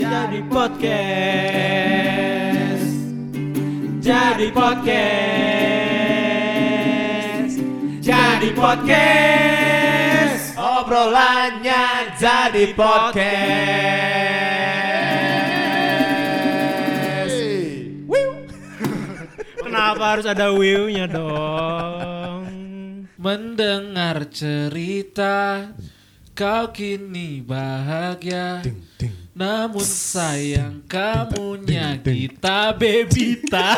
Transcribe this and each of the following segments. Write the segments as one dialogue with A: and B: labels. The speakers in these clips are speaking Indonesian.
A: Jadi podcast. Jadi podcast. Jadi podcast. Obrolannya jadi podcast. Kenapa harus ada wiu-nya dong?
B: Mendengar cerita kau kini bahagia Namun sayang kamunya kita bebita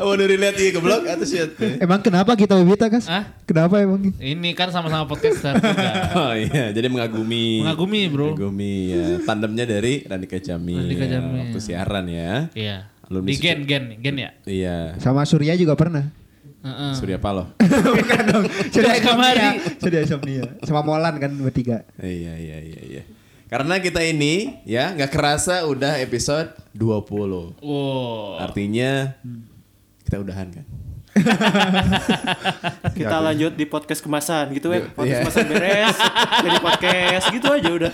C: Waduh relate iya keblok atau shit.
B: Nah.
D: Emang kenapa kita bebita kas?
B: Hah?
D: Kenapa emang? gitu?
B: Ini kan sama-sama podcaster juga
C: Oh iya, jadi mengagumi.
B: Mengagumi, bro.
C: Mengagumi ya. Tandemnya dari Randika Jami.
B: Randika
C: ya,
B: Jami.
C: Waktu siaran ya.
B: Iya
C: Alumni
B: Di
C: suci.
B: gen, gen, gen ya
C: Iya.
D: Sama Surya juga pernah.
B: Heeh.
C: Surya Paloh.
B: Surya Kamari.
D: Surya Insomnia. Sama Molan kan bertiga.
C: iya, iya, iya, iya. Karena kita ini ya nggak kerasa udah episode 20.
B: Wow
C: Artinya kita udahan kan.
A: Kita lanjut di podcast kemasan gitu ya. Podcast
C: Iya.
A: kemasan beres. Jadi podcast gitu aja udah.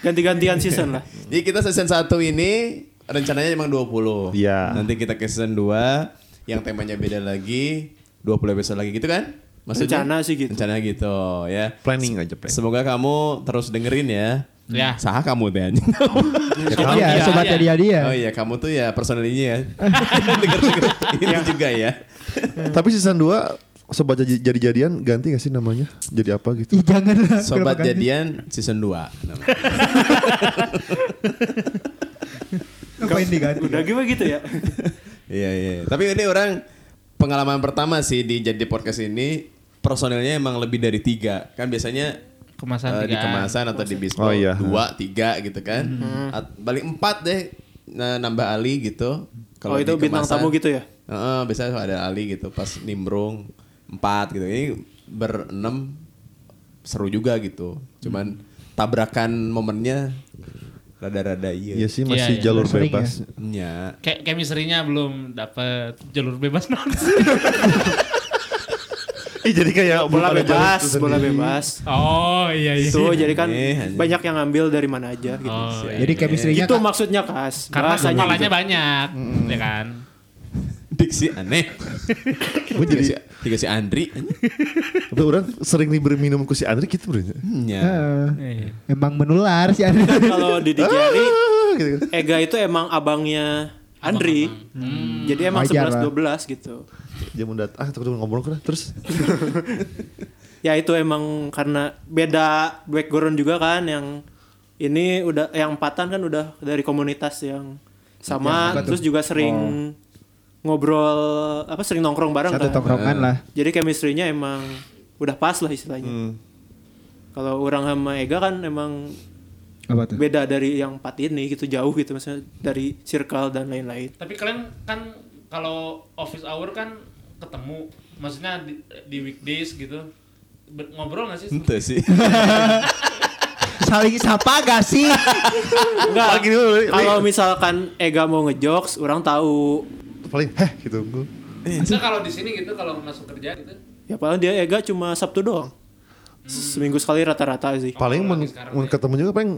A: Ganti-gantian season lah.
C: Jadi kita season 1 ini rencananya emang 20.
E: Iya.
C: Nanti kita ke season 2 yang temanya beda lagi, 20 episode lagi gitu kan?
A: Rencana sih gitu.
C: Rencana gitu ya.
E: planning aja plan.
C: Semoga kamu terus dengerin ya.
B: Ya.
C: Saha kamu teh anjing.
B: Sobat
D: Iya,
B: dia,
D: sobatnya
B: iya.
D: dia dia.
C: Oh iya, kamu tuh ya personalnya ya. Denger-denger
A: Iya.
C: ini juga ya.
E: Tapi season 2 sobat jadi- jadi-jadian ganti gak sih namanya? Jadi apa gitu?
D: Ih, jangan lah.
C: Sobat
D: Kenapa ganti?
C: Jadian season 2.
D: Ngapain diganti?
A: Udah gimana gitu ya.
C: Iya iya. Tapi ini orang pengalaman pertama sih di jadi podcast ini personilnya emang lebih dari tiga kan biasanya
B: Kemasan
C: eh, di
B: tigaan.
C: kemasan atau di bisnis
E: Oh, iya.
C: dua tiga gitu kan
B: Hmm.
C: At- balik empat deh nah, nambah Ali gitu
A: Kalau Oh, itu
C: di
A: bintang
C: kemasan-
A: tamu gitu ya.
C: Heeh, biasanya ada Ali gitu pas nimbrung empat gitu ini berenam seru juga gitu cuman tabrakan momennya rada-rada
E: Iya
C: iya ya.
E: sih
B: Iya,
E: masih
B: iya.
E: jalur
D: Sering
E: bebas.
C: Nya.
B: Kayak chemistry-nya belum dapet jalur bebas non
E: Ih jadi kayak
A: Bola bebas, bola bebas.
B: Oh iya iya
A: Itu jadi kan
C: Iya, anjing.
A: banyak yang ngambil dari mana aja gitu.
B: Oh, iya.
D: Jadi chemistry-nya
A: itu
D: Kak,
A: maksudnya khas.
B: Karena
A: Bahasanya
B: kepalanya
A: gitu.
B: banyak Ya kan
C: diksi aneh gue
E: Iya.
C: jadi tiga si Andri
E: Tapi orang sering diberi minum ke si Andri gitu bro.
C: Nya.
D: eh,
B: Iya.
D: emang menular sih Andri.
A: Kalau di Dijari,
E: Ah, gitu.
A: Ega itu emang abangnya Andri.
B: Hmm.
A: Jadi emang
D: Wajar
A: 11
D: lah.
A: 12 gitu.
E: Dia mau datang, ah takut ngomong ke terus.
A: Ya itu emang karena beda background juga kan yang ini udah yang empatan kan udah dari komunitas yang sama terus juga sering ngobrol apa sering nongkrong bareng
D: Satu
A: kan.
D: tongkrongan lah.
A: Jadi chemistry-nya emang udah pas lah istilahnya. Kalau orang sama Ega kan emang
D: Apa tuh?
A: beda dari yang empat ini gitu jauh gitu maksudnya dari circle dan lain-lain.
B: Tapi kalian kan kalau office hour kan ketemu, maksudnya di, di weekdays gitu Ber- ngobrol nggak sih?
C: Ente sih.
D: Saling sapa gak sih?
A: Enggak.
E: Pagi dulu, Li.
A: Kalau misalkan Ega mau ngejokes, orang tahu
E: Paling heh gitu. Gua,
B: Maksudnya kalau di sini gitu kalau masuk kerja gitu.
A: ya paling dia Ega cuma Sabtu doang. Seminggu sekali rata-rata sih.
E: Paling men, men ketemu juga paling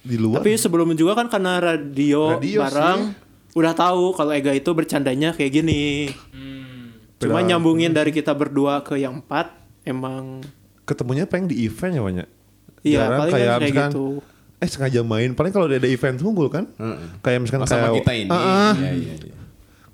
E: di luar.
A: Tapi sebelum juga kan karena radio,
E: Radio
A: bareng
E: sih.
A: udah tahu kalau Ega itu bercandanya kayak gini.
B: Hmm.
A: Cuma
E: Beda-
A: nyambungin dari kita berdua ke yang empat emang
E: ketemunya paling di event ya banyak.
A: Iya,
E: Jarang
A: paling
E: kayak
A: kan kayak
E: misalkan,
A: gitu.
E: Eh sengaja main. Paling kalau ada event unggul kan.
C: Heeh.
E: Kayak misalkan
C: Sama
E: kayak
C: kita ini.
E: Ah, ah.
C: Iya, iya, iya.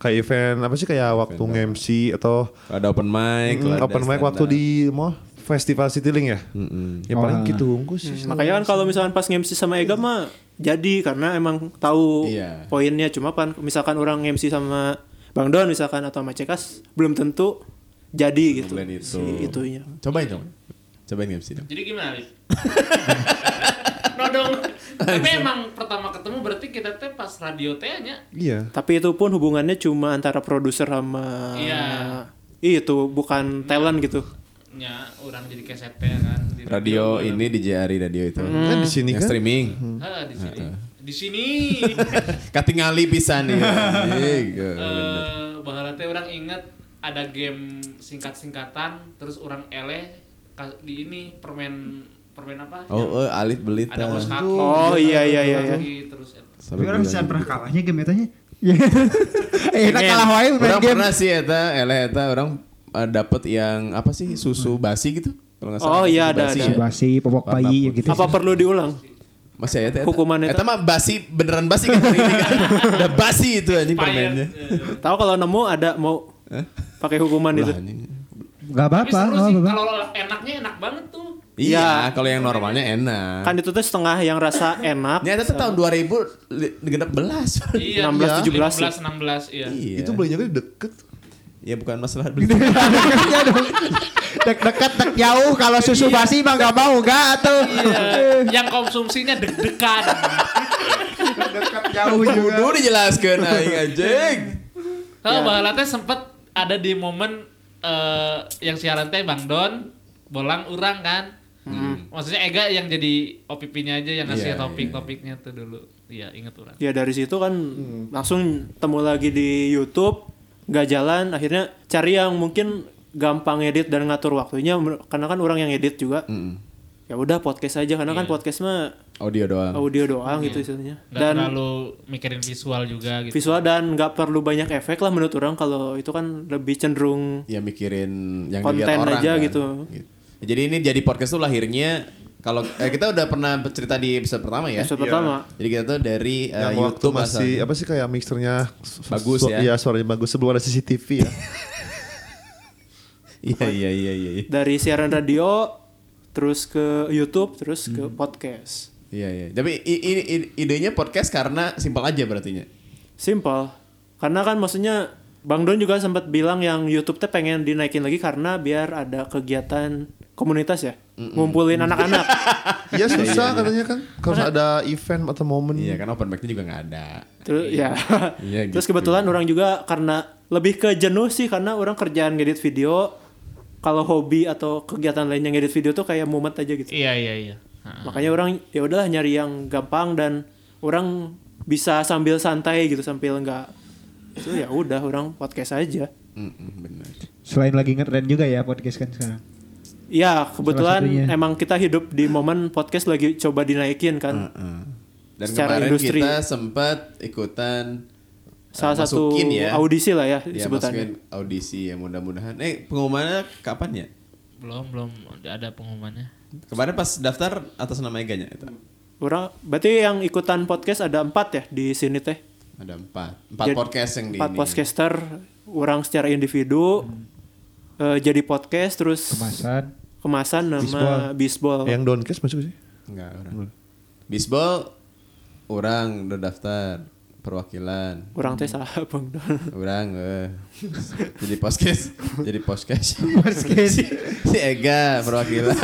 E: kayak event apa sih kayak waktu MC atau
C: Ada open mic,
E: mm,
C: ada
E: open mic
C: stand
E: waktu
C: up.
E: di mall festival Citylink ya.
C: Mm-mm.
E: Ya paling
D: Wah.
E: gitu ungu sih.
A: Makanya kan kalau misalkan pas MC sama Ega mah jadi karena emang tahu
C: Iya.
A: poinnya cuma kan misalkan orang MC sama Bang Don misalkan atau sama Cekas belum tentu jadi gitu.
C: Bulan itu.
A: Si itunya.
C: Cobain dong. Cobain nggak sih dong.
B: Jadi gimana, Lip? Nodong. Tapi emang pertama ketemu berarti kita teh pas radio teh nya.
E: Iya.
A: Tapi itu pun hubungannya cuma antara produser sama
B: Iya.
A: itu bukan talent gitu.
B: Nya orang jadi keset teh kan. Di
C: Radio ini di JRI radio itu.
E: Kan di sini
C: Yang
E: kan.
C: streaming.
B: Hah, di sini. Di sini.
C: Katingali pisan ya.
E: Iya.
C: Iya,
B: eh bahala teh orang inget ada game singkat-singkatan terus orang eleh ka- di ini permen permen apa?
C: Oh, eh, alit belita.
B: Ada gitu, Los Kaki.
A: Oh, iya, iya, iya, iya.
B: Terus
C: Sampai
D: Tapi orang
C: bilang
D: bisa
C: gitu.
D: pernah kalahnya game etanya. Iya. Eh, enak kalah wae main
C: Orang
D: game.
C: pernah sih eta, eleh eta orang eh, dapet yang apa sih susu basi gitu? Kalau nggak
A: Oh,
C: salah,
A: iya,
C: susu
A: ada,
C: basi
A: ada.
D: Si
C: ya.
D: basi, popok bayi gitu.
A: Apa perlu diulang?
C: Masih ada eta.
A: Hukuman eta.
C: Eta mah basi beneran basi kan ini kan. Udah basi itu
B: Expired.
C: anjing permennya.
B: Eh,
A: Tahu kalau nemu ada mau pakai hukuman
C: Lah,
A: itu.
C: anjing.
D: Gak
B: Tapi
D: apa-apa,
B: seru
D: gak
B: sih,
D: apa-apa.
B: kalau enaknya enak banget tuh.
C: Iya, kalau yang normalnya enak.
A: Kan itu tuh setengah yang rasa enak.
C: Ini ada tuh tahun 2016.
B: Iya,
A: 16, 17.
B: 15, 16, iya.
C: Iya.
E: Itu belinya kan deket.
C: ya bukan masalah beli.
D: Dekatnya dong. Dek-dekat, dek jauh. Kalau susu
A: Iya.
D: basi mah gak mau, gak tuh.
B: Iya, yang konsumsinya deg-degan.
D: Dekat jauh
C: Kudu dijelaskeun aing anjing.
B: Kalau Bang Lala teh sempet ada di momen eh, yang siaran teh Bang Don bolang urang kan. Maksudnya Ega yang jadi OPP-nya aja yang ngasih
C: Iya,
B: topik-topiknya tuh dulu. Iya, inget urang.
A: Ya dari situ kan langsung temu lagi di YouTube, nggak jalan. Akhirnya cari yang mungkin gampang edit dan ngatur waktunya. Mer- Karena kan orang yang edit juga.
C: Mm.
A: Ya udah podcast aja karena kan
B: Iya.
A: podcast mah
C: Audio doang.
A: audio doang gitu istilahnya.
B: Gak
A: Dan
B: Iya. terlalu mikirin visual juga gitu.
A: visual dan nggak perlu banyak efek lah menurut orang kalau itu kan lebih cenderung
C: ya mikirin yang
A: Konten
C: dilihat orang
A: aja
C: kan.
A: gitu.
C: Ya, Jadi ini jadi podcast tuh lahirnya kalau eh, kita udah pernah cerita di episode pertama ya.
A: episode pertama.
C: Jadi kita tuh dari eh,
E: yang waktu
C: YouTube
E: masih
C: asal.
E: apa sih kayak mixernya su-
C: Bagus
E: su-
C: ya.
E: Iya, suaranya Ya, bagus sebelum ada CCTV ya.
C: Iya iya iya iya. iya.
A: Dari siaran radio terus ke YouTube terus ke
C: Hmm.
A: podcast.
C: Iya iya. Tapi i- i- i- idenya podcast karena simpel aja berartinya.
A: Simple. Karena kan maksudnya Bang Don juga sempat bilang yang YouTube teh pengen dinaikin lagi karena biar ada kegiatan komunitas ya, ngumpulin anak-anak.
E: Iya susah katanya kan harus ada event atau momen.
C: Iya kan open mic-nya juga nggak ada.
A: Terus ya.
C: Iya,
A: Terus
C: gitu.
A: kebetulan orang juga karena lebih ke jenuh sih karena orang kerjaan ngedit video kalau hobi atau kegiatan lainnya ngedit video tuh kayak mumet aja gitu.
B: Iya, iya, iya. Ha.
A: Makanya orang ya udahlah nyari yang gampang dan orang bisa sambil santai gitu sambil nggak itu ya udah orang podcast aja.
C: Mm-mm, benar.
D: Selain lagi ngetren juga ya podcast kan sekarang.
A: Ya kebetulan
D: satunya.
A: emang kita hidup di momen podcast lagi coba dinaikin kan.
C: Heeh. Dan
A: Secara
C: kemarin
A: industri.
C: kita sempat ikutan eh,
A: Salah satu
C: masukin ya.
A: audisi lah ya
C: Ya,
A: sebutannya.
C: masukin audisi ya mudah-mudahan. Eh pengumumannya kapan ya?
B: Belum, belum ada pengumumannya.
C: Kemarin pas daftar atas nama Eganya itu
A: Orang berarti yang ikutan podcast ada empat ya di sini teh.
C: ada empat empat
A: Jadi,
C: podcast yang di
A: Empat
C: ini.
A: podcaster orang secara individu eh, jadi podcast terus
D: Kemasan.
A: kemasan nama bisbol.
E: Oh. Yang downcast masuk sih.
C: Enggak, orang. Bisbol orang udah daftar perwakilan.
A: Orang teh salah bang. Don.
C: Orang eh. jadi podcast, jadi podcast.
D: Podcast.
C: si, si Ega perwakilan.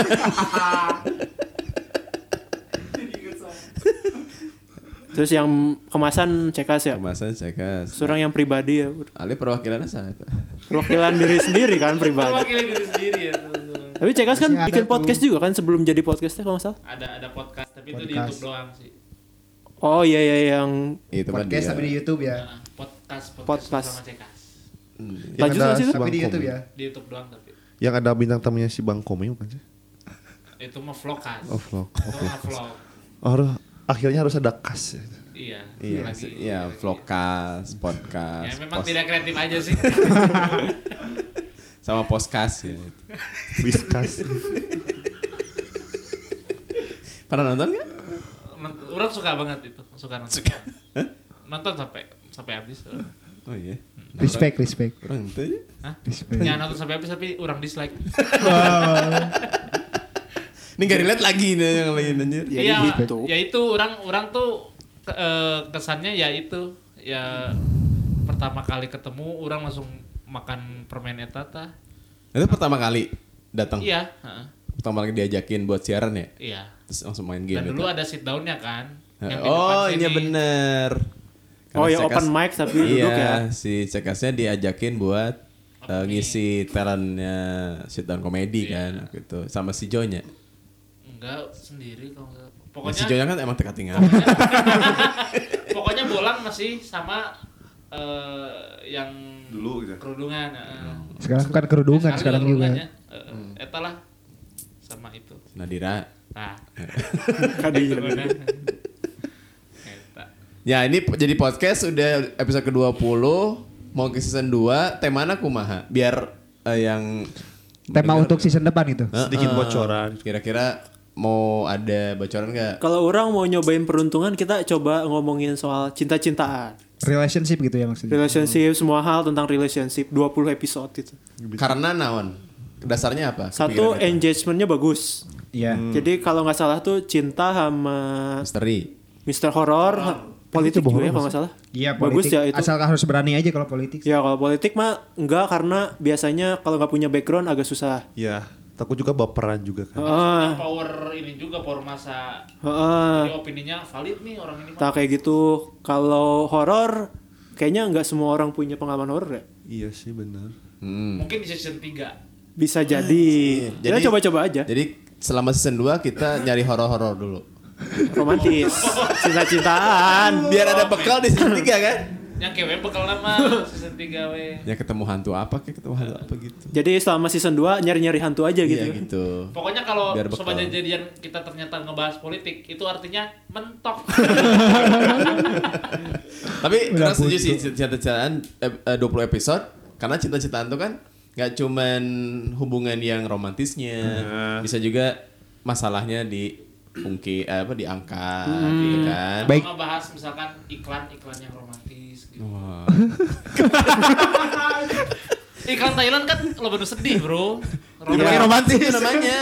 A: Terus yang kemasan cekas ya.
C: Kemasan cekas.
A: Seorang yang pribadi ya.
C: Ali perwakilannya saya.
A: Perwakilan diri sendiri kan pribadi.
B: Wakilin diri sendiri ya. teman-teman.
A: Tapi cekas kan
D: Masih ada
A: bikin
D: tuh.
A: podcast juga kan sebelum jadi podcastnya kalau nggak salah.
B: Ada ada podcast, tapi itu di
D: Podcast.
B: YouTube doang sih.
A: Oh iya iya yang
C: Itu kan
D: Podcast
C: dia.
D: tapi di YouTube ya.
B: Nah, podcast
A: Podcast.
B: podcast sama Cekas.
C: Hmm.
E: Yang
A: Lanjut
E: ada
A: nggak sih,
E: si
A: Bang?
D: Tapi
E: Bang
D: di YouTube
E: Komeng.
D: ya.
B: Di YouTube doang tapi.
E: Yang ada bintang tamunya si Bang Komeng bukan sih?
B: Itu mah vlogcast.
E: Oh, vlog.
B: Itu
E: Oh,
B: mah vlog.
E: Oh, harus- akhirnya harus ada kas. ya.
B: Iya.
C: Iya,
B: lagi-
C: si- iya,
B: lagi.
C: vlogcast,
B: Ya
C: podcast,
B: memang
C: pos-
B: tidak kreatif aja sih.
C: sama podcast ya.
E: Biskas.
C: Pernah nonton nggak?
B: Men- Orang suka banget itu, suka nonton. Suka. Nonton sampai sampai habis.
C: Oh iya.
D: Respect, respect.
C: Orang itu aja.
B: Hah?
D: Respect.
B: Jangan nonton sampai habis tapi orang dislike.
C: Ini gak relate lagi nih yang lagi anjir.
A: Ya,
B: Iya,
A: gitu.
B: ya itu orang orang tuh ke- eh, kesannya ya itu ya pertama kali ketemu orang langsung makan permen etata.
C: Itu pertama kali datang.
B: Iya, heeh.
C: Pertama kali diajakin buat siaran ya.
B: iya.
C: Terus langsung main game
B: Dan
C: itu.
B: dulu ada sit downnya kan.
C: Nah,
B: yang di depan
C: oh,
B: sini.
C: ini bener.
A: Oh,
C: Karena
A: ya,
C: Cekas-
A: open mic tapi
C: iya,
A: duduk ya.
C: si Cekasnya diajakin buat eh, ngisi talentnya sit down
B: Iya.
C: komedi kan gitu sama si Jonya.
B: Enggak sendiri kalau enggak.
C: Nah,
B: Pokoknya
C: si Jonya kan emang teka-tengah.
B: pokoknya bolang masih sama eh, yang
E: Dulu gitu.
B: kerudungan. eh. heeh.
D: Sekarang kan kerudungan
B: Sekali
D: sekarang juga.
B: kerudungannya, heeh. Eta lah Eh, sama itu. Nah,
C: Nadira
B: Tah.
A: Kadieu.
B: Guna. Eta.
C: Ya ini po- jadi podcast udah episode ke-20 mau ke season 2 temana kumaha biar eh, yang
D: Tema
C: mendengar-
D: untuk season depan itu.
C: Eh,
E: Sedikit
C: eh,
E: bocoran.
C: Kira-kira mau ada bocoran nggak?
A: Kalau orang mau nyobain peruntungan kita coba ngomongin soal cinta-cintaan.
D: Relationship gitu ya
A: Iya.
D: maksudnya.
A: Relationship, semua hal tentang relationship 20 episode itu.
C: Karena naon? Dasarnya apa?
A: Satu
C: Kepikiran apa?
A: engagementnya bagus.
D: Iya.
A: Jadi kalau nggak salah tuh cinta sama
C: misteri.
A: Mr. Horror, politik juga
E: Itu
A: ya
E: bohong
A: kalau nggak salah.
D: Ah. Iya
A: bagus
D: politik.
A: ya itu.
D: Asal harus berani aja kalau politik.
A: Ya kalau politik mah enggak karena biasanya kalau nggak punya background agak susah.
E: Ya, takut juga baperan juga kan.
A: Heeh.
B: Power ini juga power masa.
A: Heeh.
B: Jadi opininya valid nih orang ini. mah.
A: Tak kayak gitu. Kalau horor kayaknya nggak semua orang punya pengalaman horor ya.
E: Iya sih benar.
C: Hmm.
B: Mungkin di season 3.
A: Bisa jadi.
C: Ah, iya. Jadi-
A: Kita coba-coba aja.
C: Jadi selama season 2 kita nyari horor-horor dulu.
A: Romantis, cinta-cintaan.
C: Biar ada bekal di season 3 kan?
B: Yang kewe bekal nama season 3 we.
C: Ya ketemu hantu apa kayak ketemu hantu apa gitu.
A: Jadi selama season 2 nyari-nyari hantu aja
C: Iya
A: gitu.
C: gitu.
B: Pokoknya kalau
C: Biar bekal.
B: sobat jadian kita ternyata ngebahas politik, itu artinya mentok.
C: Tapi
D: Udah
C: karena setuju sih
D: buntu.
C: cinta-cintaan ep- eh, 20 episode karena cinta-cintaan tuh kan nggak cuman hubungan yang romantisnya, bisa juga masalahnya di eh, apa diangkat gitu kan.
D: Baik.
B: Baik. bahas misalkan iklan-iklan yang romantis gitu.
C: Wah.
B: Iklan Thailand kan lo bener sedih, Bro.
C: Iya. Itu
B: Romantis.
C: romantis namanya.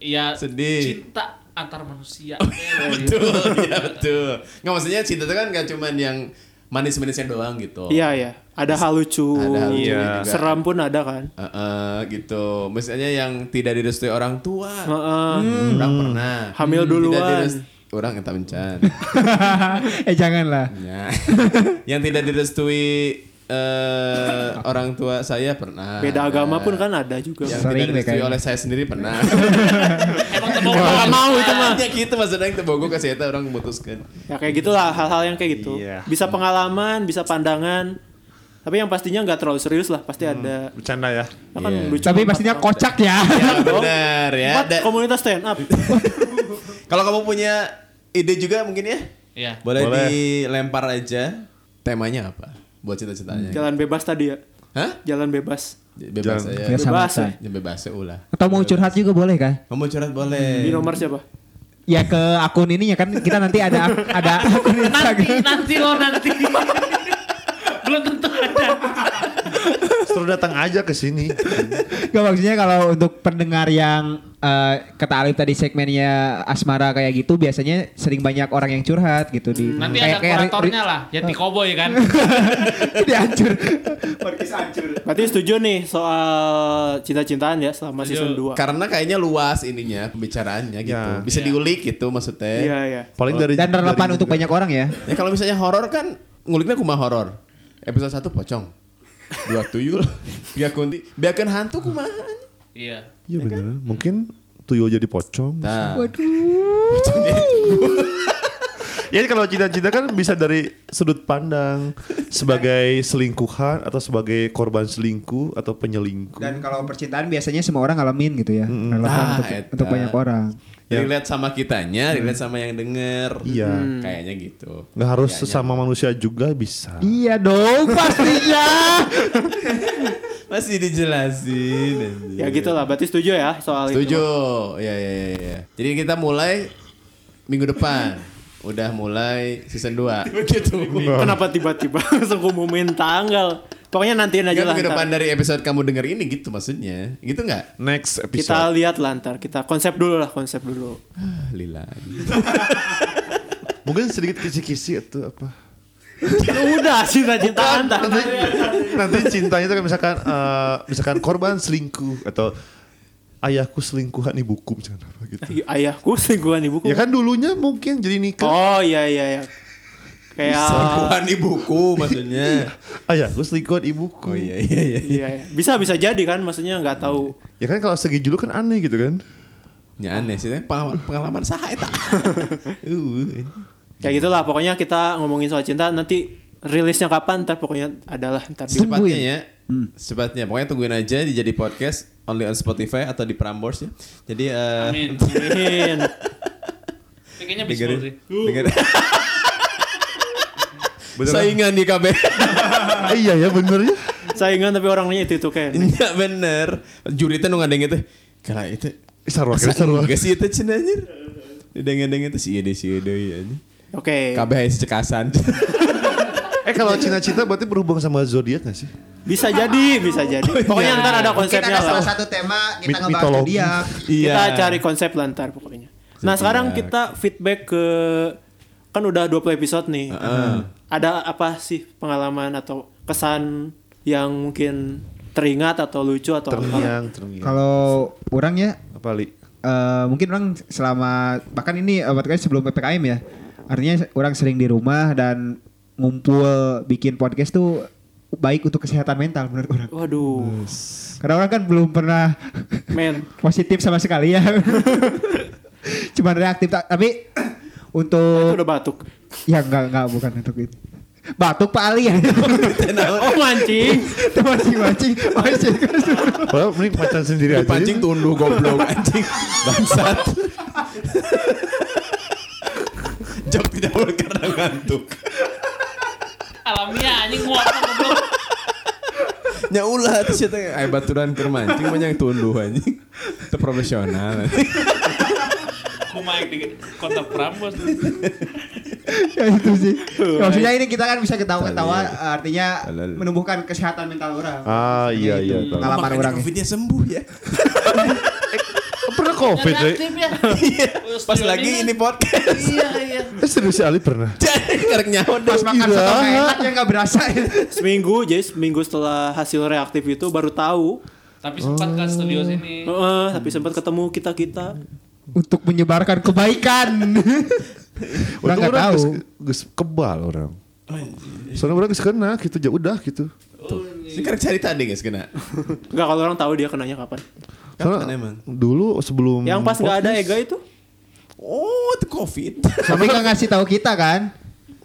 B: Iya,
C: Sedih. Oh.
B: Cinta antar manusia.
A: Iya, gitu.
C: betul, ya betul. Nggak maksudnya cinta tuh kan nggak cuman yang manis-manisnya doang gitu.
A: Iya ya. Ada hal lucu.
C: Ada hal lucunya
A: Iya.
C: juga.
A: Seram pun ada kan.
C: Eh, eh, gitu. Misalnya yang tidak direstui orang tua. Hmm,
A: Heeh. Hmm.
C: Orang pernah. Hmm,
A: Hamil
C: Tidak
A: duluan.
C: direst- Orang kita mencan.
D: eh janganlah.
C: Ya. yang tidak direstui eh, orang tua saya pernah.
A: Beda
C: Ada. Iya,
A: agama pun kan ada juga.
C: Yang
D: Sering
C: tidak
D: deh
C: direstui
D: kayaknya.
C: oleh saya sendiri pernah.
B: Emang tebak
A: Wah,
B: banget.
A: mau itu mah.
C: Ya gitu maksudnya yang tebogo ke saya orang memutuskan.
A: Ya kayak gitulah hal-hal yang kayak gitu.
E: Iya.
A: Bisa pengalaman, bisa pandangan. Tapi yang pastinya nggak terlalu serius lah. Pasti ada.
E: Bercanda ya.
A: Ya kan
C: Hmm. Iya.
A: lu cuma
D: Tapi
A: empat
D: pastinya
A: orang.
D: kocak ya.
A: Iya.
C: Ya, benar ya.
A: Empat
C: Da-
A: komunitas stand up.
C: Kalau kamu punya ide juga mungkin ya?
B: Iya.
C: Boleh,
E: Boleh.
C: dilempar aja. Temanya apa? Buat cita-citanya.
A: Jalan bebas tadi ya.
C: Hah?
A: Jalan bebas.
C: Bebas
E: Jalan-
C: aja.
D: Ya sama
A: Bebas, eh.
D: saya.
C: Ya bebas ya ulah.
D: Atau mau curhat juga boleh kan?
C: Kamu curhat boleh.
A: Di nomor siapa?
D: Ya ke akun ini ya kan kita nanti ada ada akun
B: Iya. Nanti,
D: Instagram.
B: nanti lo nanti. Belum tentu ada.
E: Terus datang aja ke sini.
D: Gak maksudnya kalau untuk pendengar yang eh, kata Alif tadi segmennya asmara kayak gitu biasanya sering banyak orang yang curhat gitu di
B: Hmm. Nanti ada kuratornya lah, Yeti
C: Oh.
B: Koboy kan.
D: dihancur.
A: Berarti setuju nih soal cinta-cintaan ya selama
B: Setuju.
A: season 2.
C: Karena kayaknya luas ininya pembicaraannya gitu.
E: Ya.
C: Bisa diulik gitu maksudnya.
A: Iya, iya.
E: Paling dari
D: Dan relevan untuk banyak orang ya.
C: Ya kalau misalnya horor kan nguliknya kumaha horor. Episode 1 pocong. Dua tuyul, tiga kunti, biarkan hantu kumaha.
B: Iya.
E: Iya benar. Mungkin tuyul jadi pocong.
C: Nah.
E: Ya kalau cinta-cinta kan bisa dari sudut pandang sebagai selingkuhan atau sebagai korban selingkuh atau penyelingkuh.
D: Dan kalau percintaan biasanya semua orang ngalamin gitu ya. Relevan
C: Nah,
D: untuk,
C: eta.
D: untuk banyak orang.
E: Ya.
C: Relate sama kitanya, relate sama yang denger.
E: Iya.
C: Hmm. Kayaknya gitu.
E: nggak harus sesama manusia juga bisa.
D: Iya dong pastinya.
C: Masih dijelasin. anjir.
A: Ya gitulah, berarti setuju ya soal itu.
C: Iya. Setuju. Ya, ya, ya, ya. Jadi kita mulai minggu depan. Udah mulai season 2. Gitu.
A: Kenapa tiba-tiba langsung ngumumin tanggal? Pokoknya nantiin aja
C: Kan
A: lah.
C: minggu depan
A: ntar.
C: dari episode kamu denger ini gitu maksudnya. Gitu nggak?
A: Kita
E: Next episode.
A: lihat lah ntar. Kita konsep dulu lah, konsep dulu.
C: Ah, Lila.
E: Mungkin sedikit kisi-kisi atau apa.
A: Udah
C: Kan.
A: cinta-cintaan tadi.
E: Nanti cintanya itu kan misalkan eh, misalkan korban selingkuh atau ayahku selingkuhan ibuku misalkan apa gitu.
D: Iya.
A: Ayahku selingkuhan ibuku.
E: Ya kan dulunya mungkin jadi nikah.
A: Oh iya iya iya. Kayak
C: Selingkuhan di buku maksudnya.
E: Ayahku selingkuhan ibuku.
C: Oh iya iya iya.
A: iya, iya. Bisa bisa jadi kan maksudnya nggak tahu.
E: Ya kan kalau segi julu kan aneh gitu kan.
C: Ya aneh sih, tapi pengalaman, pengalaman saha eta. Uh.
A: Kayak gitulah pokoknya kita ngomongin soal cinta nanti rilisnya kapan ntar pokoknya adalah ntar di
C: Secepatnya ya. Secepatnya. Pokoknya tungguin aja di jadi podcast only on Spotify atau di Prambors ya. Jadi eh,
B: Amin.
A: Amin.
B: Tapi Kayaknya bisa
C: dengerin,
B: sih.
C: dengerin.
E: Bener kan?
C: saingan di KB.
E: Ah, iya ya bener ya.
A: Saingan tapi orangnya itu itu kan.
C: Iya bener. Juri teh nu ngadeng itu. Kala itu.
E: Ih, Sarwa
C: asa
E: kira sarwa.
C: enggak sih itu cina anjir. Didengen-dengen itu sih deh sih deh ya.
A: Oke.
C: KB hayas cekasan.
E: Eh kalau cita-cita berarti berhubung sama zodiak gak sih?
A: Bisa jadi, bisa jadi. Pokoknya ntar ada
D: Mungkin
A: konsepnya
D: ada
A: lah.
D: salah satu tema kita
E: Mit-
D: ngebahas
E: mitologi.
D: dia.
C: Iya.
A: Kita cari konsep lantar pokoknya. Nah,
C: Zodiac.
A: sekarang kita feedback ke kan udah 20 episode nih. Ada apa sih pengalaman atau kesan yang mungkin teringat atau lucu atau apa?
E: Terngiang, terngiang.
D: Kalau orang ya
E: Apa li?
D: eh, mungkin orang selama bahkan ini eh, bahkan sebelum PPKM ya. Artinya orang sering di rumah dan ngumpul bikin podcast tuh baik untuk kesehatan mental menurut orang.
A: Waduh,
D: Karena orang kan belum pernah
A: men.
D: positif sama sekali ya. Cuman reaktif ta- tapi
A: Itu
D: untuk
A: udah batuk.
D: ya enggak enggak bukan untuk itu. Batuk Pak Ali ya.
A: Oh, mancing.
D: Itu mancing-mancing. Mancing.
E: Padahal mending pacaran sendiri aja.
C: Pancing tunduh goblok anjing. Bangsat. Jok tidak boleh karena ngantuk.
B: Alamiah anjing nguap goblok.
C: Nya ulah tuh sih teh. Ay baturan keur mancing mah yang tunduh anjing. Itu profesional.
B: Kuma yang di kota Prambos.
D: ya itu sih. Maksudnya ini kita kan bisa ketawa-ketawa artinya
C: Halal.
D: menumbuhkan kesehatan mental orang.
E: Ah iya iya. tahu.
D: Pengalaman
C: Makanya
D: orang.
C: Covidnya sembuh ya.
E: Pernah covid ya?
B: Reaktif ya.
C: eh. Iya. Pas lagi
B: kan?
C: ini podcast.
B: Iya iya.
E: Eh serius si Ali pernah?
C: Jadi karek nyaho
D: Pas makan
E: Gila.
D: soto nggak enak ya nggak berasa.
A: Seminggu, jadi seminggu setelah hasil reaktif itu baru tahu.
B: Tapi sempat ke studio sini.
A: Heeh, tapi sempat ketemu kita-kita.
D: Untuk menyebarkan kebaikan. orang
E: Untung
D: nggak tahu.
E: geus- geus kebal orang. Soalnya orang geus kena gitu ya udah gitu.
C: Si karek cerita deh guys kena.
A: Enggak kalau orang tahu dia kenanya kapan.
E: Soalnya
C: Kapan emang?
E: dulu
C: Hmm,
E: sebelum
A: Yang pas nggak ada
E: podcast,
A: Ega itu.
C: Oh, itu Covid.
D: Tapi nggak ngasih tahu kita kan.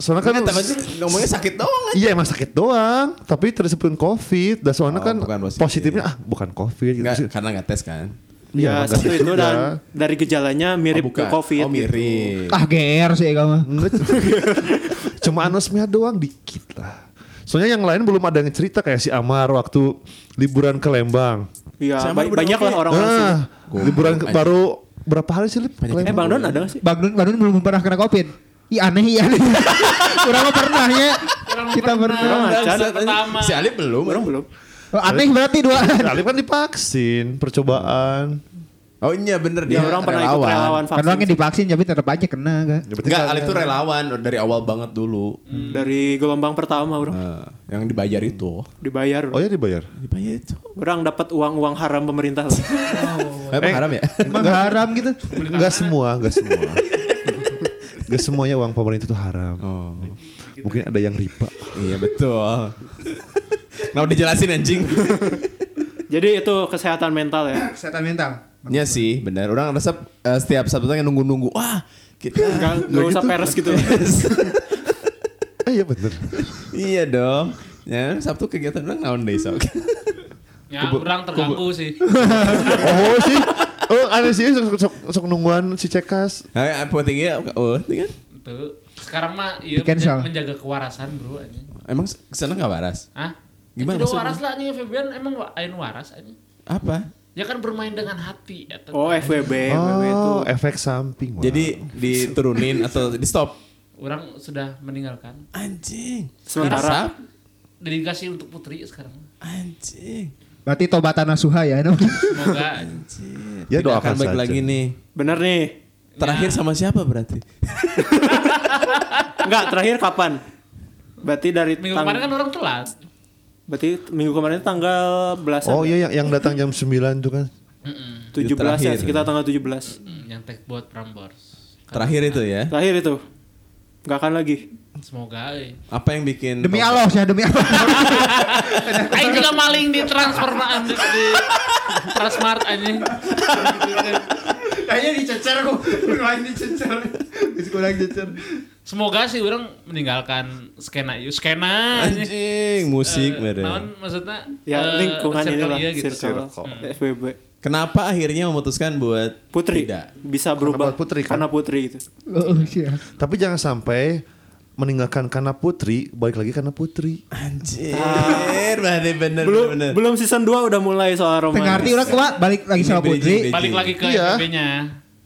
E: Soalnya kan
C: Kan tapi ngomongnya sakit doang. anjing.
E: Iya emang sakit doang, tapi tersebutin covid. Dan soalnya
C: Oh,
E: kan
C: bukan positif.
E: positifnya ah bukan covid.
A: Iya.
E: Gitu.
C: Enggak,
E: sih.
C: karena nggak tes kan.
A: Ya,
E: nggak
A: satu
E: gitu
A: itu
E: juga.
A: dan dari gejalanya mirip
C: Oh,
A: ke
C: bukan.
A: COVID.
C: Oh,
A: gitu.
C: mirip.
D: Ah GR sih kamu.
E: Enggak, Cuma anosmia doang dikit lah. Soalnya yang lain belum ada yang cerita kayak si Amar waktu liburan ke Lembang.
A: Iya, ba-
C: Sama udah
A: banyak lah
C: oke.
A: orang-orang sih.
E: Ah,
C: Goblok,
E: liburan ke-
C: anjing.
E: baru berapa hari sih Lip, ke
A: Eh,
E: Lembang?
A: Bang Don ada nggak sih?
D: Bang Dun, Bang Dun belum pernah kena covid. Ih aneh, ih aneh. Kurang mah pernah ya.
B: Orang
C: Oh,
D: Kita pernah.
A: Orang
C: Bangsat,
A: macan.
C: anjing.
B: pertama.
C: Si Ali belum.
A: Orang belum.
D: Oh, aneh berarti dua.
E: Ya, Alif kan divaksin, percobaan.
C: Oh iya bener dia
A: Ya, orang pernah ikut relawan
D: Kan orangnya
A: vaksin
D: divaksin tapi tetap aja kena gak?
E: Ya, berarti
C: Enggak,
E: kan-
C: Alif tuh relawan dari awal banget dulu.
A: dari gelombang pertama orang
C: Eh, yang dibayar itu.
A: dibayar.
E: Oh ya dibayar.
C: Dibayar itu.
A: Orang dapat uang-uang haram pemerintah. Eh.
C: Emang haram ya?
D: Emang haram gitu.
E: Enggak semua, enggak semua. Enggak semuanya uang pemerintah itu haram.
C: Oh.
E: Mungkin ada yang riba.
C: Iya betul. Nah udah jelasin anjing.
A: Jadi itu kesehatan mental ya.
D: Kesehatan mental.
C: Iya sih, benar. Orang resep eh, setiap Sabtu yang nunggu-nunggu. Wah, kita
A: Enggak enggak
E: Nah,
A: usah peres gitu.
E: Eh iya bener.
C: iya dong. Ya, Sabtu kegiatan orang naon deh sok.
B: Ya orang terganggu sih.
E: Oh sih. Oh aneh sih sok, sok, sok nungguan si Cekas.
C: Nah, apa tinggi? Oh, tinggi. kan?
B: Tuh. Sekarang mah iya
D: Di cancel.
B: menja- menjaga kewarasan bro anjing.
C: Emang kesana nggak waras?
B: Hah?
C: Gimana
B: Itu
C: maksudnya?
B: waras lah anjing Febian emang wa- ain waras anjing.
C: Apa?
B: Ya kan bermain dengan hati ya. tetap.
A: Oh, FWB, FWB itu.
E: Oh, efek samping. Wah.
C: Jadi diturunin atau di stop?
B: Orang sudah meninggalkan.
C: Anjing.
A: Sementara.
C: Resep?
B: Dedikasi untuk putri sekarang.
C: Anjing.
D: Berarti tobatan nasuha ya. namanya.
B: Semoga anjing.
C: Anjing.
E: Ya,
C: Tidak
E: doakan
C: Iya. akan baik
E: saja.
C: lagi nih.
A: Bener nih.
B: Ya.
C: Terakhir sama siapa berarti?
A: Enggak, terakhir kapan? Berarti dari
B: Minggu
A: tang-
B: kemarin kan orang telat.
A: Berarti minggu kemarin tanggal belasan.
E: Oh iya yang, yang datang jam 9 tuh kan.
A: 17 ya,
C: Terakhir.
A: sekitar tanggal 17.
B: Hmm, yang tag buat Prambors.
C: Terakhir itu ya.
A: Terakhir itu. Enggak akan lagi.
B: Semoga eh. euy.
C: Apa yang bikin
D: Demi Allah saya demi Allah.
B: Aing juga maling di transfer mah, anjing di Transmart anjing.
D: Kayaknya dicecer kok. Lain dicecer. Bisa kurang cecer.
B: Semoga sih orang meninggalkan skena itu. Skena anjing.
C: Anjing,
B: Eh,
C: musik mere.
B: naon maksudnya
A: ya
B: eh,
A: lingkungan
B: circle
A: inilah
B: iya gitu.
A: circle, FBB
C: Kenapa akhirnya memutuskan buat
A: Putri
C: Tidak.
A: bisa berubah
E: buat Putri, kan?
A: karena Putri itu
D: Oh, iya.
E: Tapi jangan sampai meninggalkan karena putri, balik lagi karena putri.
C: Ah, Anjir, berarti bener
A: belum
C: bener.
A: belum season 2 udah mulai soal romantis
D: Tengah arti orang kuat balik lagi sama
C: Beji,
D: Putri.
C: beji.
B: Balik lagi ke
E: Iya.
B: FBB-nya.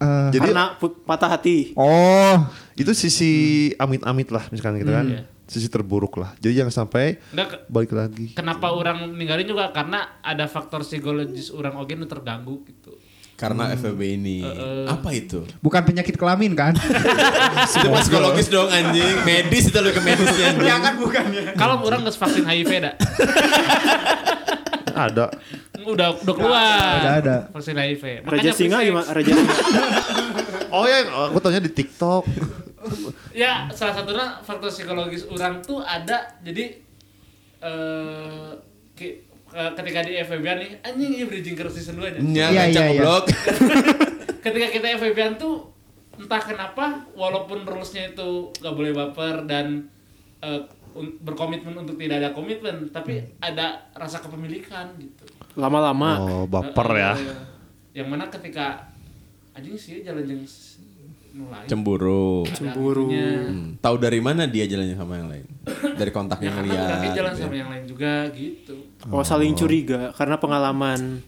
D: Eh,
E: Jadi
A: karena put- patah hati
D: oh,
E: itu sisi amit-amit lah misalkan gitu kan. Sisi terburuk lah. Jadi jangan sampai
B: Nggak, ke-
E: balik lagi.
B: kenapa orang ninggalin juga karena ada faktor psikologis orang oge nu terganggu gitu.
C: Karena FEB ini. Apa itu?
D: bukan penyakit kelamin kan?
C: Itu mah psikologis dong anjing. Medis itu lebih ke medisnya anjing.
D: ya kan bukan ya.
B: Kalau orang nggak vaksin HIV dah,
E: Ada
B: udah udah keluar.
D: Udah ada.
B: Vaksin HIV.
A: Raja Singa
B: please,
A: gimana Raja Singa
E: Oh ya, aku taunya di TikTok.
B: Ya, salah satunya faktor psikologis orang tuh ada. Jadi eh ke- eh, ketika di FVB nih anjing ini bridging ke season 2 nya.
C: Nya
D: Iya,
C: ngacak
D: iya, iya.
C: goblok.
B: Ketika kita FVB tuh entah kenapa walaupun rulesnya itu gak boleh baper dan eh, un- berkomitmen untuk tidak ada komitmen, tapi
C: Hmm.
B: ada rasa kepemilikan gitu.
A: lama-lama
E: Oh, baper ya.
B: Eh, Yang mana ketika anjing sih jalan jeung s- Ya, nu lain.
C: Cemburu.
B: Ada
A: Cemburu.
B: akunya.
C: Hmm. Tahu dari mana dia jalannya sama yang lain? Dari kontak
B: Ya
C: yang
B: karena
C: lihat.
B: berarti jalan
C: gitu
B: sama
C: ya.
B: yang lain juga gitu.
A: oh saling curiga karena pengalaman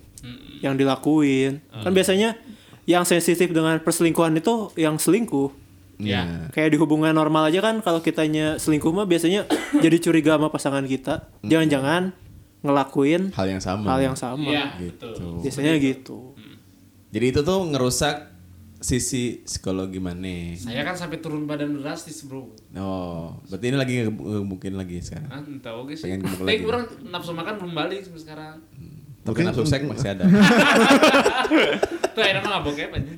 A: yang dilakuin kan biasanya yang sensitif dengan perselingkuhan itu yang selingkuh
C: Iya.
A: kayak di hubungan normal aja kan kalau kitanya selingkuh mah biasanya jadi curiga sama pasangan kita jangan-jangan ngelakuin
C: Hal yang sama.
A: hal yang sama
B: Iya,
C: Gitu.
B: betul.
A: biasanya gitu
C: Jadi itu tuh ngerusak sisi psikologi mana?
B: Saya kan sampai turun badan drastis, Bro.
C: Oh, berarti ini lagi nge- mungkin lagi sekarang.
B: Ah, entah oke sih.
C: Pengen gemuk
B: Tapi
C: lagi.
B: kurang nafsu makan belum balik sampai sekarang.
C: Tapi nafsu seks masih ada.
B: Tuh akhirnya mah ngabok ya, anjing.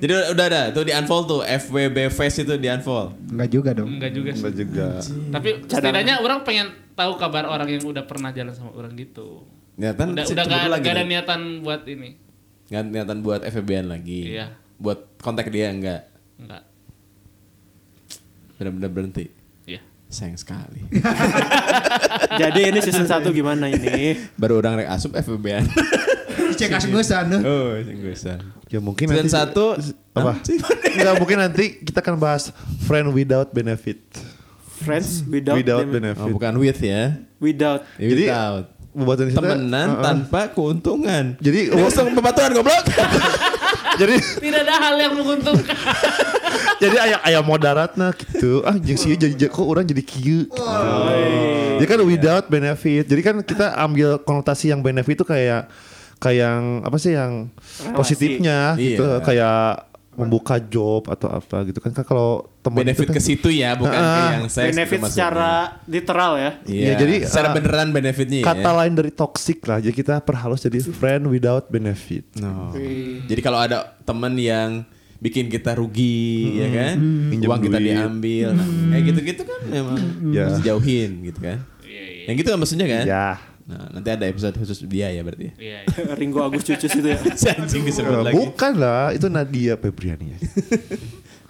C: Jadi udah ada tuh di unfold tuh FWB Fest itu di unfold.
D: Enggak juga dong.
B: Enggak juga sih.
E: Enggak juga.
B: Tapi setidaknya orang pengen tahu kabar orang yang udah pernah jalan sama orang gitu.
C: Ya kan
B: Udah
C: si
B: udah
C: cemburu
B: gak,
C: lagi.
B: gak ada
C: nih.
B: niatan buat ini.
C: Nggak ada niatan buat FWB-an lagi.
B: Iya.
C: Buat kontak dia enggak.
B: Enggak.
C: Benar-benar berhenti.
B: Iya.
C: Sayang sekali.
A: Jadi ini season 1 gimana ini?
C: Baru orang rek asup FWB-an.
D: Hmm, Cek asgusan tuh.
C: oh, cenggusan.
E: Ya mungkin
C: Dan
E: nanti
C: satu
E: apa?
C: sih?
E: Enggak mungkin nanti kita akan bahas friend without benefit.
A: Friends without
E: Hmm. without
A: them-
E: benefit.
C: Oh, bukan with ya.
A: without
E: Jadi,
C: Without.
E: Pembacaan kita,
C: temenan
E: uh-uh.
C: tanpa keuntungan.
E: Jadi-
C: langsung pembatuan goblok.
E: Jadi
B: Tidak ada hal yang menguntungkan.
E: jadi ayah ayah moderatna gitu. Ah, jeung sieu jadi kok orang jadi kieu. Jadi kan without benefit. Jadi kan kita ambil konotasi yang benefit itu kayak kayak yang apa sih yang
A: Relasi.
E: positifnya gitu,
C: Iya.
E: kayak membuka job atau apa gitu kan kan kalau teman
C: benefit
E: itu kan-
C: ke situ ya, bukan ke
E: Ah,
C: yang seks.
A: benefit
C: itu maksudnya.
A: secara literal ya.
C: Iya,
E: Ya,
C: jadi
E: jadi,
C: secara
E: uh,
C: beneran benefitnya
E: kata
C: ya.
E: lain dari toxic lah. Jadi kita perhalus jadi friend without benefit.
C: No. Jadi kalau ada temen yang bikin kita rugi ya kan,
E: Minjem
C: uang kita
E: duit.
C: diambil, nah, kayak gitu-gitu kan memang
E: Ya.
C: harus dijauhin gitu kan. Yang gitu kan maksudnya kan?
E: Ya.
C: Nah, nanti ada episode khusus dia ya berarti. ya.
B: Iya, iya.
A: Ringo Agus Cucus itu ya.
C: Si Anjing disebut
E: Eh,
C: lagi.
E: bukan lah, itu Nadia Febriani.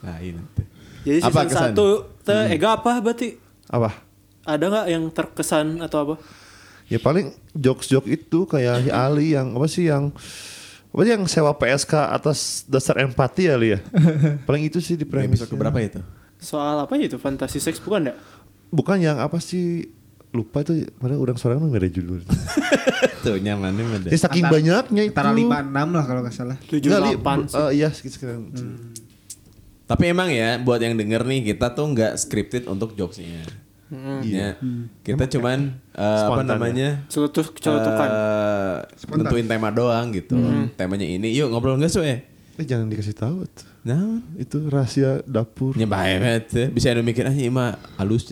C: Nah, ini nanti.
A: Jadi
C: Apa
A: season
C: kesan?
A: 1 teh
E: Hmm.
A: ega apa berarti?
E: apa?
A: Ada nggak yang terkesan atau apa?
E: Ya paling jokes-jokes itu kayak si Ali yang apa sih yang apa sih yang sewa PSK atas dasar empati ya Li ya? Paling itu sih di premis.
C: Episode berapa itu?
A: Soal apa itu? Fantasi seks bukan ya?
E: Bukan yang apa sih lupa itu mana orang suaranya nggak ada judul.
C: Tuh nyamannya ada.
E: Jadi saking
D: Antara-
E: banyaknya itu.
D: Antara 5 6 lah kalau nggak salah.
A: 7
E: Nggak, Li,
A: 8
E: bu- eh, iya sekitar.
C: Tapi emang ya buat yang denger nih kita tuh nggak scripted untuk jokesnya. Ya. Kita cuman eh, apa
E: Spontan Iya. ya.
C: namanya?
A: Celutuk celutukan.
C: eh, nentuin tema doang gitu.
A: Hmm.
C: Temanya ini yuk ngobrol nggak sih?
E: Eh, jangan dikasih tahu tuh.
C: Nah,
E: Itu rahasia dapur.
C: nyebai banget. ya. Bisa ada mikir ah ini mah halus.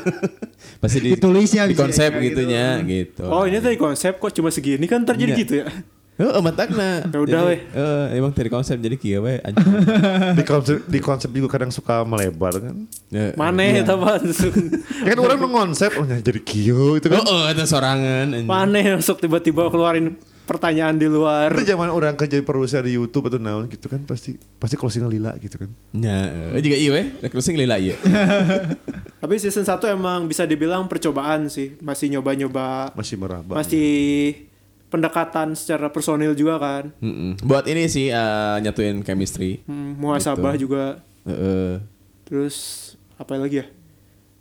C: Pasti di,
D: Ditulisnya
C: di
D: bisa
C: konsep
D: ya,
C: gitunya gitu.
E: eh,
A: oh, ini tadi konsep kok cuma segini kan ntar jadi
C: Iya.
A: gitu ya.
C: Oh, matakna.
A: Ya udah, weh.
C: eh, emang dari konsep jadi kieu we anjing.
E: di konsep di konsep juga kadang suka melebar kan.
C: Ya,
A: Mana ya teman langsung.
E: Ya kan orang mengonsep oh jadi kio itu kan.
C: Oh, oh, itu sorangan. anjing.
A: Mana yang sok tiba-tiba keluarin pertanyaan di luar
E: Itu zaman orang kerja produser di YouTube atau naon gitu kan pasti pasti closing lila gitu kan.
C: Nya, eh, juga iya weh. Nah, closing lila iya.
A: tapi season 1 emang bisa dibilang percobaan sih masih nyoba-nyoba
E: Masih meraba.
A: masih pendekatan secara personil juga kan
C: Mm-mm. Buat ini sih eh, nyatuin chemistry.
A: Hmm, muhasabah
C: Betul.
A: juga
C: Eh, eh.
A: terus apa lagi ya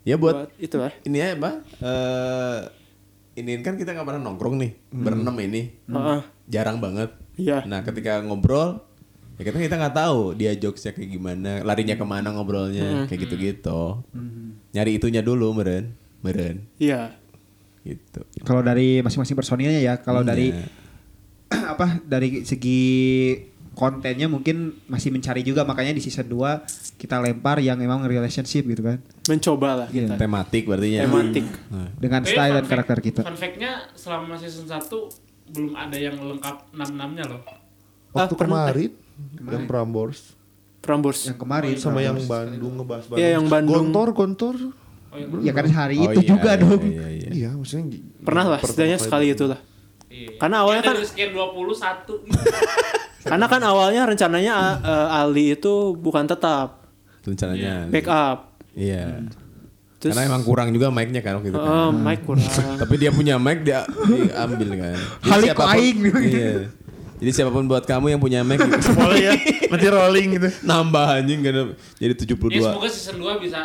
C: ya buat
A: itu lah
C: ini ya apa? Eh ini kan kita nggak pernah nongkrong nih
D: Hmm.
C: berenam ini
A: Heeh.
C: jarang banget.
A: Iya.
C: Nah ketika ngobrol ya kita kita nggak tahu dia jokesnya kayak gimana, larinya kemana
A: Hmm.
C: ngobrolnya kayak gitu-gitu.
D: Hmm.
C: Nyari itunya dulu meren meren
A: iya
C: gitu.
D: Kalau dari masing-masing personilnya ya, kalau
C: Iya.
D: dari apa dari segi kontennya mungkin masih mencari juga makanya di season 2 kita lempar yang emang relationship gitu kan
A: mencoba lah kita
D: Iya.
C: tematik berarti ya.
A: tematik
C: Nah,
D: dengan
B: Tapi
D: style
B: fun
D: dan
B: fact-
D: karakter kita.
B: Fun fact-nya selama season 1 belum ada yang lengkap 6-6-nya loh.
E: Waktu
A: Ah, pernah-
E: kemarin yang Prambors
A: Prambors
D: Yang kemarin
E: sama yang Bandung ngebahas Bandung.
A: Iya, yang Bandung.
E: Gontor, gontor.
B: Oh, iya.
D: ya kan hari
C: Oh
D: itu
C: iya,
D: juga
C: iya,
D: dong.
C: Iya, iya, iya.
E: Iya, maksudnya gi-
A: pernah lah
E: pertama
A: setidaknya
E: kali
A: sekali
E: Bandung.
A: itu lah
B: Iya.
A: Karena awalnya
B: Kayak
A: kan-
B: dari sekian 20 satu gitu.
A: karena kan awalnya rencananya A- eh, Ali itu bukan tetap
C: Rencananya.
A: backup
C: Iya.
A: Hmm. Terus-
C: Karena emang kurang juga mic-nya kan waktu itu.
A: Eh,
C: kan.
A: Mike kurang
C: Tapi dia punya mic dia diambil kan. Jadi
D: Halik
C: siapapun-
D: aing.
C: Iya. Jadi siapapun buat kamu yang punya mic
E: Boleh ya, nanti rolling gitu.
C: nambah anjing kan
B: ya
C: jadi 72
A: Iya,
B: semoga season 2 bisa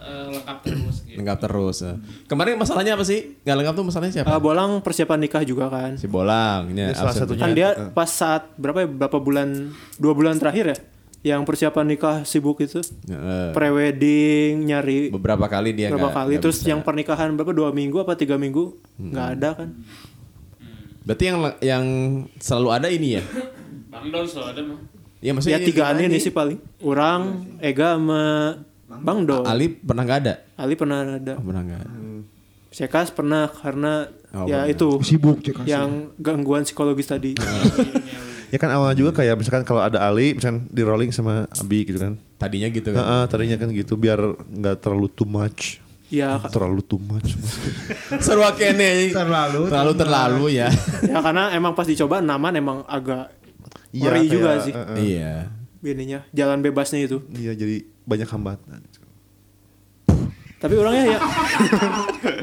B: eh, lengkap terus gitu.
C: lengkap terus. eh. Kemarin masalahnya apa sih? Gak lengkap tuh masalahnya siapa?
A: Eh, Bolang persiapan nikah juga kan
C: si Bolang ya,
E: Ya, salah
C: absen.
E: satunya.
A: kan dia pas saat berapa ya berapa bulan dua bulan terakhir ya yang persiapan nikah sibuk itu
C: Iya. Heeh.
A: prewedding nyari
C: beberapa kali dia
A: berapa
C: Iya, nggak-
A: kali
C: nggak
A: terus
C: bisa. Hmm.
A: yang pernikahan berapa dua minggu apa tiga minggu nggak ada kan
C: berarti yang le- yang selalu ada ini ya?
B: Bang Don selalu ada mah.
A: ya
C: Ya maksudnya
A: tigaan
C: ini
A: ini sih paling orang Ega sama Bang Do Ali,
C: Ali pernah gak ada?
A: pernah ada
C: Oh, pernah gak ada.
A: Hmm. Sekas pernah karena
C: Oh,
A: ya
C: pernah.
A: itu
D: Sibuk cek asli.
A: yang gangguan psikologis tadi
C: Hmm.
E: Ya kan awalnya juga kayak misalkan kalau ada Ali misalkan di rolling sama Abi gitu kan.
C: Tadinya gitu
E: Heeh,
C: kan.
E: tadinya kan gitu biar nggak terlalu too much.
A: ya ka-
E: Terlalu too much.
C: Seru kene.
D: Terlalu,
C: terlalu terlalu ya.
A: ya karena emang pas dicoba naman emang agak
E: Iya,
A: Ngeri
E: kayak,
A: juga sih.
E: eh, eh,
C: Iya.
A: ininya jalan bebasnya itu
E: Iya, jadi banyak hambatan.
A: tapi orangnya ya